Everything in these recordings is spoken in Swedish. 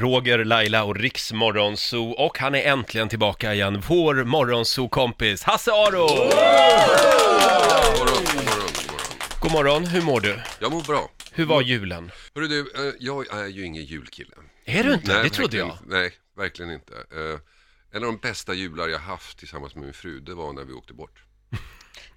Roger, Laila och Riks Morgonzoo och han är äntligen tillbaka igen, vår Morgonzoo-kompis Hasse Aro! morgon, God god morgon, god morgon. morgon, hur mår du? Jag mår bra. Hur var julen? Hörru du, eh, jag är ju ingen julkille. Är du inte? det trodde verkligen- jag. Nej, verkligen inte. Eh, En av de bästa jular jag haft tillsammans med min fru, det var när vi åkte bort. Mm.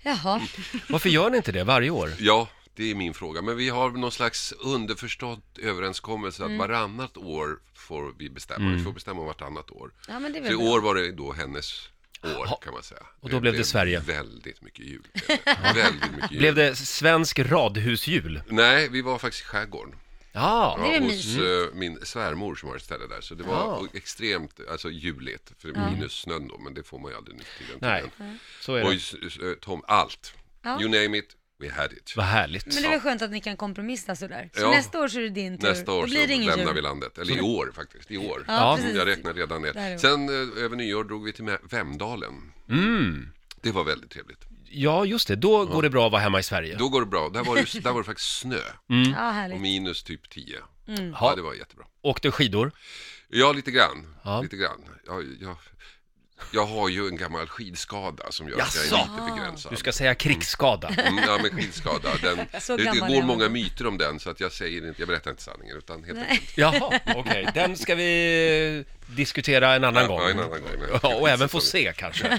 Jaha, Varför gör ni inte det varje år? Ja, det är min fråga. Men vi har någon slags underförstådd överenskommelse att Mm. varannat år får vi bestämma. Mm. Vi får bestämma vartannat år. ja men det är Så i väl bra. år var det då hennes år kan man säga. Och då blev det Sverige. Väldigt mycket jul. blev det. väldigt mycket jul. Blev det svensk radhusjul? Nej, vi var faktiskt i skärgården. Ja, Det är Ja, väl hos mysigt. eh, min svärmor som har ett ställe där. Så det var Ja. extremt alltså, juligt, för minus snön då, men det får man ju aldrig nu till den nej, tiden. så är Och det. s- s- eh, Tom, allt. Ja. You name it, we had it. Vad härligt. Men det är väl skönt att ni kan kompromissa sådär. Så Ja. nästa år så är det din tur. Nästa år Då blir så det ingen lämnar jul. vi landet. Eller i år faktiskt, i år. Ja, Ja, precis. Jag räknar redan ner. Där. Sen eh, över nyår drog vi till Mä- Vemdalen. Mm. Det var väldigt trevligt. Ja, just det, då går det bra att vara hemma i Sverige. Då går det bra. Där var det, där var det faktiskt snö. Mm. Ja, Och härligt. minus typ 10. Ja, Mm. Ha, det var jättebra. åkte skidor? Ja, lite grann. Ja. Lite grann. Jag, jag, jag har ju en gammal skidskada som gör att jag är Jaså? lite begränsad. Du ska säga krigsskada. Mm, ja, men skidskada. Den, Så det, det gammal är går jag. många myter om den så att jag säger inte, jag berättar inte sanningen utan helt enkelt. Jaha, okej. Den ska vi diskutera en annan Ja, gång. en annan gång, ja. Ja, och även få se kanske.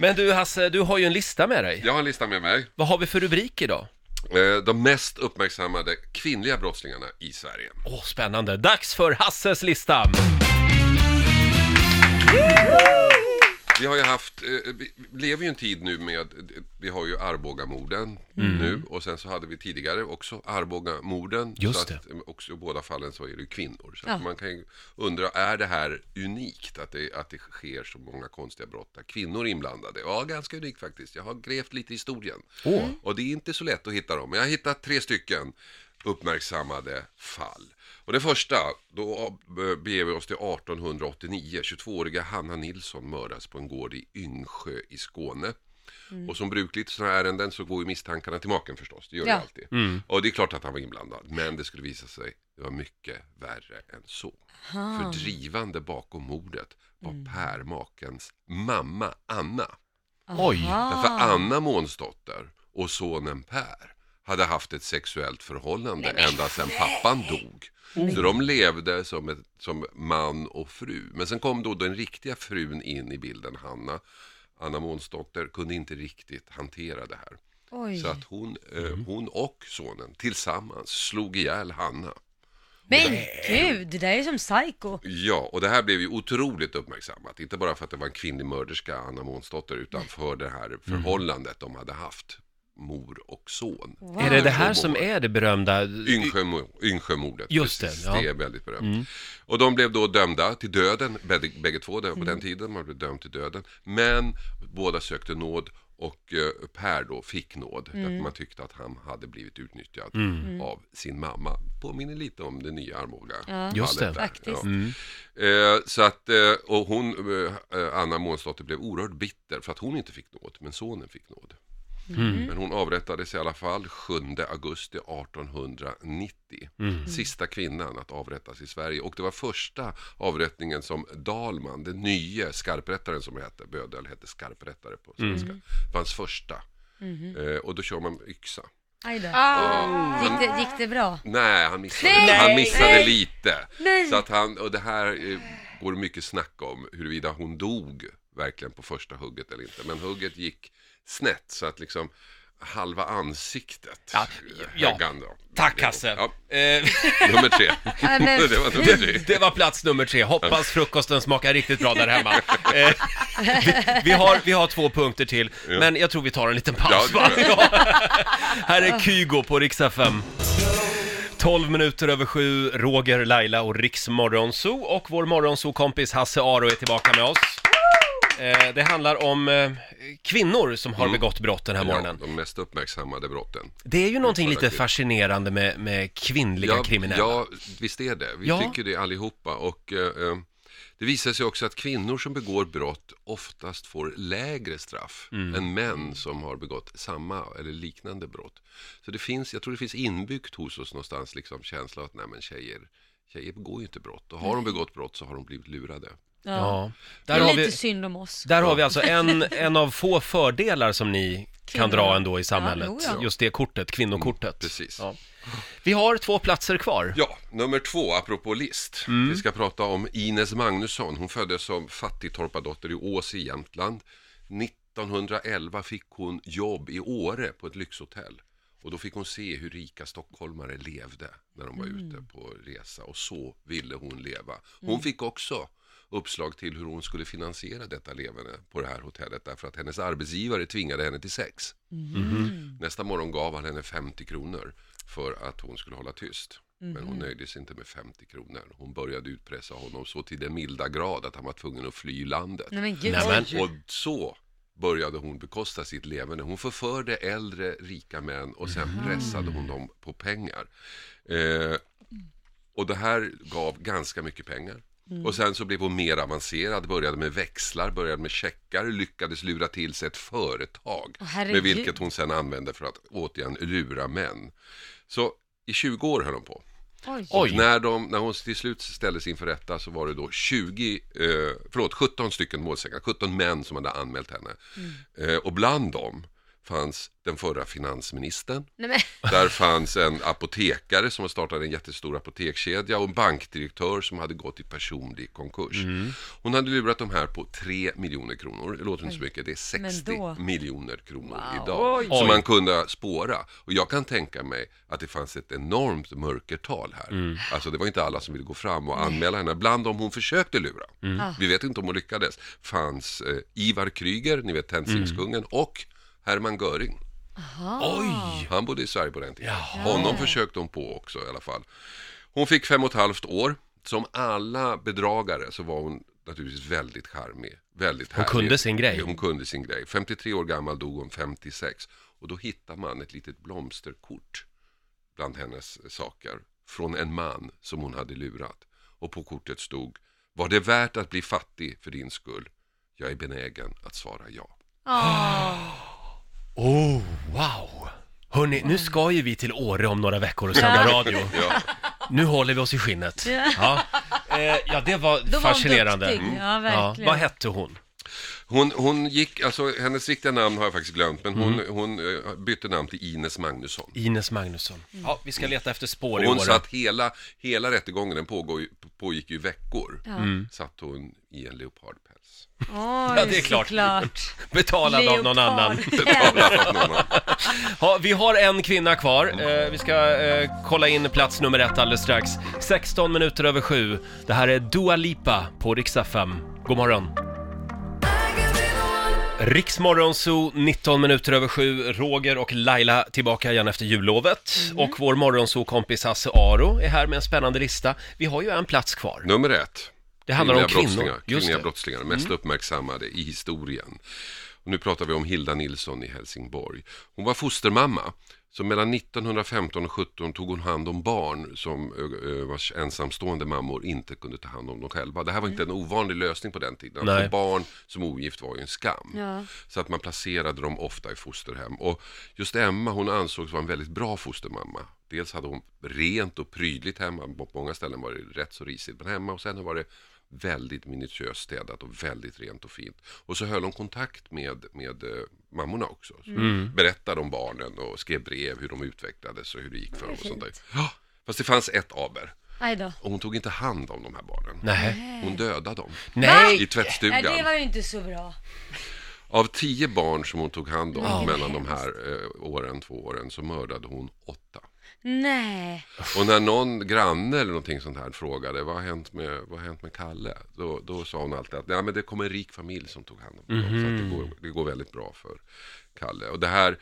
Men du Hasse, du har ju en lista med dig. Jag har en lista med mig. Vad har vi för rubrik idag? Eh, De mest uppmärksammade kvinnliga brottslingarna i Sverige. Åh, spännande. Dags för Hasses lista. Vi har ju haft, eh, vi vi lever ju en tid nu med, vi har ju Arbogamorden Mm. nu och sen så hade vi tidigare också Arbogamorden. Just så det. Att, eh, också i båda fallen så är det ju kvinnor. Så Ja. att man kan ju undra, är det här unikt att det, att det sker så många konstiga brott där kvinnor är inblandade? Ja, ganska unikt faktiskt. Jag har grävt lite i historien. Mm. Åh. Och det är inte så lätt att hitta dem, men jag har hittat tre stycken uppmärksammade fall. Och det första, då eh, beger vi oss till 1889. 22-åriga Hanna Nilsson mördas på en gård i Yngsjö i Skåne. Och som brukligt i sådana här ärenden så går ju misstankarna till maken förstås, det gör Ja. det alltid. Och det är klart att han var inblandad, men det skulle visa sig det var mycket värre än så. För drivande bakom mordet var Per makens mamma Anna. Oj. Därför Aha. Anna Månsdotter och sonen Per hade haft ett sexuellt förhållande ända sedan pappan dog. Så de levde som, ett, som man och fru. Men sen kom då den riktiga frun in i bilden, Hanna. Anna Månsdotter kunde inte riktigt hantera det här. Oj. Så att hon, eh, hon och sonen tillsammans slog ihjäl Hanna. Men gud, det där är ju som psycho. Ja, och det här blev ju otroligt uppmärksammat. Inte bara för att det var en kvinnlig mörderska, Anna Månsdotter, utan för det här förhållandet de hade haft, mor och son. Wow. Är det det här som är det berömda? Yngsjömo- Yngsjömordet. Just det, precis. ja. Mm. det är väldigt berömt. Och de blev då dömda till döden, bägge, bägge två där, på Mm. den tiden, man blev dömd till döden. Men båda sökte nåd och eh, Per då fick nåd, därför man tyckte att han hade blivit utnyttjad Mm. av sin mamma. Påminner lite om det nya Arboga. fallet Just det. där. Faktiskt. Eh, så att, eh, och hon, eh, eh, Anna Månsdotter blev oerhört bitter för att hon inte fick nåd, men sonen fick nåd. Men hon avrättades i alla fall 7 augusti 1890. Sista kvinnan att avrättas i Sverige. Och det var första avrättningen som Dalman, den nye skarprättaren som hette, Bödel hette skarprättare på svenska, var hans första. Eh, och då kör man yxa. Aj då. Ah. Ja. Gick det, gick det bra? Nej, han missade, Nej! han missade Nej! lite. Nej. Så att han, och det här eh, går det mycket snack om, huruvida hon dog verkligen på första hugget eller inte. Men hugget gick snett, så att liksom halva ansiktet Ja, eh, ja. högg han då. Tack Hasse. Ja, Eh, nummer tre. men det var nummer tre. Det var plats nummer tre. Hoppas frukosten smakar riktigt bra där hemma. Eh, vi, vi, har, vi har två punkter till, men jag tror vi tar en liten paus. Ja, det va? Här är Kygo på Rix FM. 12 minuter över sju, Roger, Laila och Riks Morgonzoo och vår Morgonzoo-kompis Hasse Aro är tillbaka med oss. Eh, Det handlar om eh, kvinnor som har begått brott den här Mm. Ja, morgonen. de mest uppmärksammade brotten. Det är ju någonting lite Förra kvinnan. fascinerande med, med kvinnliga kriminella. Ja, visst är det. Vi Ja. tycker det allihopa. Och eh, eh, det visar sig också att kvinnor som begår brott oftast får lägre straff Mm. än män som har begått samma eller liknande brott. Så det finns, jag tror det finns inbyggt hos oss någonstans liksom känslan att nej men tjejer, Tjejer begår ju inte brott och har Mm. de begått brott så har de blivit lurade. Ja. Ja. Det Där, är har lite vi, synd om oss. där har vi alltså en, en av få fördelar som ni kan Kvinnor. dra ändå i samhället. Ja, jo, ja. Just det kortet, kvinnokortet. Mm, precis. Ja. Vi har två platser kvar. Ja, nummer två, apropå list. Vi ska prata om Ines Magnusson. Hon föddes som fattigtorpardotter i Ås i Jämtland. 1911 fick hon jobb i Åre på ett lyxhotell. Och då fick hon se hur rika stockholmare levde när de var ute på resa. Och så ville hon leva. Hon fick också uppslag till hur hon skulle finansiera detta levande på det här hotellet därför att hennes arbetsgivare tvingade henne till sex. Nästa morgon gav han henne 50 kronor för att hon skulle hålla tyst. Men hon nöjde sig inte med 50 kronor. Hon började utpressa honom så till den milda grad att han var tvungen att fly landet. Nej men gud. Nej, men- Och så började hon bekosta sitt leverne. Hon förförde äldre rika män och Mm. sen pressade hon dem på pengar. Eh, och det här gav ganska mycket pengar. Mm. Och sen så blev hon mer avancerad, började med växlar, började med checkar, lyckades lura till sig ett företag. Åh, med herregud. vilket hon sen använde för att återigen lura män. Så i 20 år höll hon på. Oj. Oj. Och när, de, när hon till slut ställdes inför rätta så var det då 20, eh, förlåt 17 stycken målsägare, 17 män som hade anmält henne. Eh, och bland dem fanns den förra finansministern, Nej men. där fanns en apotekare som startade en jättestor apotekskedja och en bankdirektör som hade gått i personlig konkurs. Mm. Hon hade lurat de här på 3 miljoner kronor. Det låter inte så mycket, det är Men 60 då? miljoner kronor Wow. idag. Oj. Som man kunde spåra. Och jag kan tänka mig att det fanns ett enormt mörkertal här. Mm. Alltså det var inte alla som ville gå fram och anmäla henne. Bland dem hon försökte lura, Ah. vi vet inte om hon lyckades, fanns eh, Ivar Kryger, ni Mm. vet Tänsingskungen, och Hermann Göring. Oj! Han bodde i Sverige på den tiden. Jaha. Honom försökte hon på också i alla fall. Hon fick fem och ett halvt år. Som alla bedragare så var hon naturligtvis väldigt charmig. Väldigt Hon härlig. kunde sin grej. Hon kunde sin grej. 53 år gammal dog hon 56. Och då hittar man ett litet blomsterkort bland hennes saker från en man som hon hade lurat. Och på kortet stod Var det värt att bli fattig för din skull? Jag är benägen att svara ja. Åh. Oh, wow! Hörni, nu ska ju vi till Åre om några veckor och sända radio. Ja. Nu håller vi oss i skinnet. Ja. Ja, eh, ja det var Då var hon fascinerande. duktig. Mm. Ja verkligen. Vad hette hon? Hon, hon gick, alltså hennes riktiga namn har jag faktiskt glömt, men hon, hon eh, bytte namn till Ines Magnusson. Ines Magnusson. Mm. Ja, vi ska leta efter spår Och i hon Åre. satt hela, hela rättegången, den pågår, ju- pågick ju i veckor, satt hon i en leopardpäls. Oj, Mm. Ja, det är klart. såklart. Betalad av någon Leopard. annan. Talat om någon annan. Ja, vi har en kvinna kvar. Eh, vi ska eh, kolla in plats nummer ett alldeles strax. 16 minuter över sju. Det här är Dua Lipa på Rix FM. God morgon. Riksmorgon Zoo, 19 minuter över sju. Roger och Laila tillbaka igen efter jullovet. Mm. Och vår morgonzoo-kompis Hasse Aro är här med en spännande lista. Vi har ju en plats kvar. Nummer ett. Det handlar om kvinnor. brottslingar, Just kvinnliga det. Mm. brottslingar, mest uppmärksammade i historien. Och nu pratar vi om Hilda Nilsson i Helsingborg. Hon var fostermamma, så mellan 1915 och 17 tog hon hand om barn som ö, ö, vars ensamstående mammor inte kunde ta hand om dem själva. Det här var inte en ovanlig lösning på den tiden. Att Nej. få barn som ogift var ju en skam. Ja. Så att man placerade dem ofta i fosterhem. Och just Emma hon ansågs vara en väldigt bra fostermamma. Dels hade hon rent och prydligt hemma, på många ställen var det rätt så risigt, men hemma och sen var det väldigt minutiöst städat och väldigt rent och fint. Och så höll hon kontakt med, med eh, mammorna också. Så Mm. Berättade om barnen och skrev brev hur de utvecklades och hur det gick för dem och sånt där. Ja, fast det fanns ett aber Aj då. och hon tog inte hand om de här barnen. Nej. Hon dödade dem i Nej! tvättstugan. Nej, det var ju inte så bra. Av tio barn som hon tog hand om mellan de här eh, åren, två åren, så mördade hon åtta. Nej. Och när någon granne eller någonting sånt här frågade vad har hänt med, vad har hänt med Kalle? Då, då sa hon alltid att Nej, men det kom en rik familj som tog hand om honom. Så Mhm. att det, går, det går väldigt bra för Kalle. Och det här,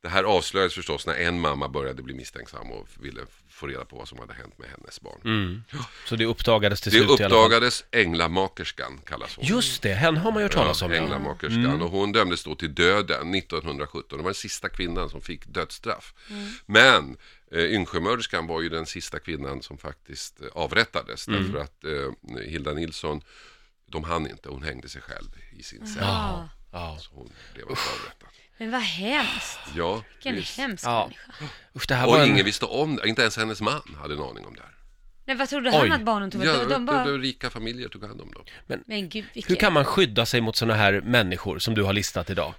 det här avslöjades förstås när en mamma började bli misstänksam och ville få reda på vad som hade hänt med hennes barn. Så det uppdagades till Det slut Mm. i alla fall. uppdagades Änglamakerskan kallas hon. Just det, Mm. henne har man ju hört talas om. Ja, Ja. Änglamakerskan. Och hon dömdes då till döden 1917. Det var den sista kvinnan som fick dödsstraff. Mm. Men eh, Yngsjömörskan var ju den sista kvinnan som faktiskt eh, avrättades. Mm. Därför att eh, Hilda Nilsson, de hann inte. Hon hängde sig själv i sin cell. Ja. Ja. Så hon blev inte avrättad. Men vad hemskt. Ja, Vilken visst. hemsk Ja. människa. Usch, det här var Och en... ingen visste om det. Inte ens hennes man hade en aning om det här. Nej, vad trodde Oj. han att barnen tog? Ja, Ja, de bara... de, de rika familjer tog hand om dem. Men gud, vilken... Hur kan man skydda sig mot sådana här människor som du har listat idag?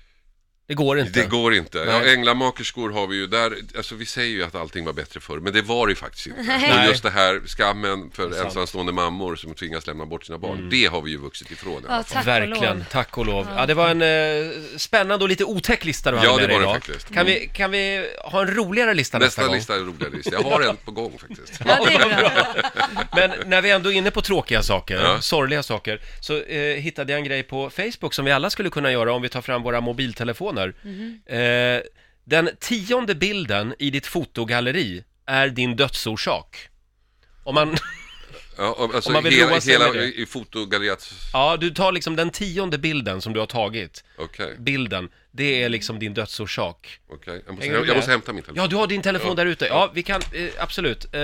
Det går inte. Det går inte. Ja, Nej. änglamakerskor har vi ju där, alltså vi säger ju att allting var bättre förr, men det var det ju faktiskt inte. Nej. Och just det här skammen för sant. Mm. ensamstående mammor som tvingas lämna bort sina barn, det har vi ju vuxit ifrån. i Ja, alla fall. tack och Verkligen, lov. tack och lov. Ja, det var en eh, spännande och lite otäck lista du Ja, hade med det dig var det idag. faktiskt. Mm. Kan, vi, kan vi ha en roligare lista nästa, Nästa gång? lista är en roligare lista. Jag har en på gång faktiskt. Ja, det är bra. Men när vi ändå är inne på tråkiga saker, Ja. sorgliga saker, så eh, hittade jag en grej på Facebook som vi alla skulle kunna göra om vi tar fram våra mobiltelefoner. Mhm. Eh, den tionde bilden i ditt fotogalleri är din dödsorsak. Om man, Ja, och alltså Om man vill hela, roa sig med hela det. i fotogalleriet, ja, du tar liksom den tionde bilden som du har tagit, okej, bilden, det är liksom din dödsorsak. okej. Hänger du Jag måste, med? jag måste hämta min telefon. Ja, du har din telefon Ja. där ute. Ja, vi kan, eh, absolut. Eh,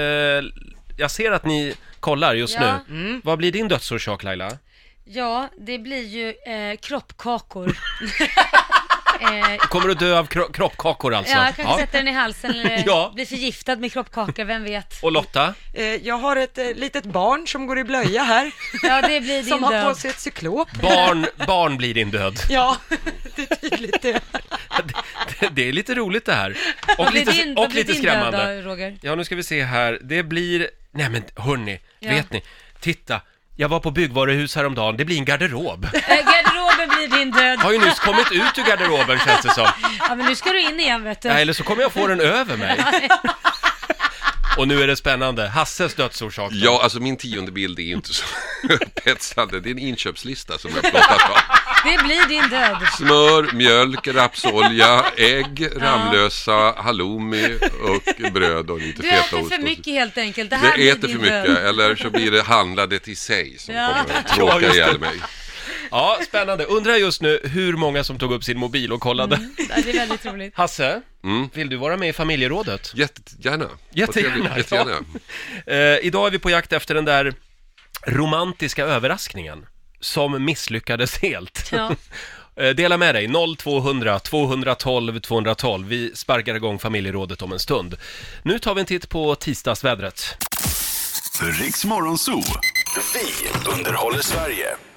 jag ser att ni kollar just Ja. nu. Mm. Vad blir din dödsorsak Laila? Ja, det blir ju eh, kroppkakor. eh, Kommer du dö av kro- kroppkakor alltså? ja, jag kanske sätter den i halsen eller Ja. blir förgiftad med kroppkaka, vem vet? Och Lotta? Eh, Jag har ett eh, litet barn som går i blöja här, Ja, det blir din som har på död. sig ett cyklop. Barn, barn blir din död. Ja, det är tydligt det. Det, det är lite roligt det här. Och Vad blir lite, din, vad och blir lite din skrämmande. död då, Roger? Ja, nu ska vi se här. Det blir... Nej men hörni, Ja. vet ni? Titta, jag var på byggvaruhus häromdagen. Det blir en garderob. Eh, garderoben blir din död. Har ju nyss kommit ut ur garderoben känns det som. Ja, men nu ska du in igen vet du. Ja, eller så kommer jag få den över mig. Och nu är det spännande. Hasses dödsorsak. då. Ja, alltså min tionde bild är inte så upphetsande. Det är en inköpslista som jag plottat fram. Det blir din död. Smör, mjölk, rapsolja, ägg, Ramlösa, halloumi och bröd och lite Du fetaost. äter för alltså. och- mycket helt enkelt. Det här Jag blir äter för din mycket, död. eller så blir det handlandet i sig som Ja. kommer att Ja, tråka just det. ihjäl mig. ja, spännande. Undrar just nu hur många som tog upp sin mobil och kollade. Ja, det är väldigt roligt. Hasse, vill du vara med i familjerådet? Jättegärna. Jättegärna, Vad trevligt. Jättegärna. Eh, idag är vi på jakt efter den där romantiska överraskningen som misslyckades helt. Ja. Eh, Dela med dig, 0200 212 212. Vi sparkar igång familjerådet om en stund. Nu tar vi en titt på tisdagsvädret. Riks Morgonzoo. Vi underhåller Sverige.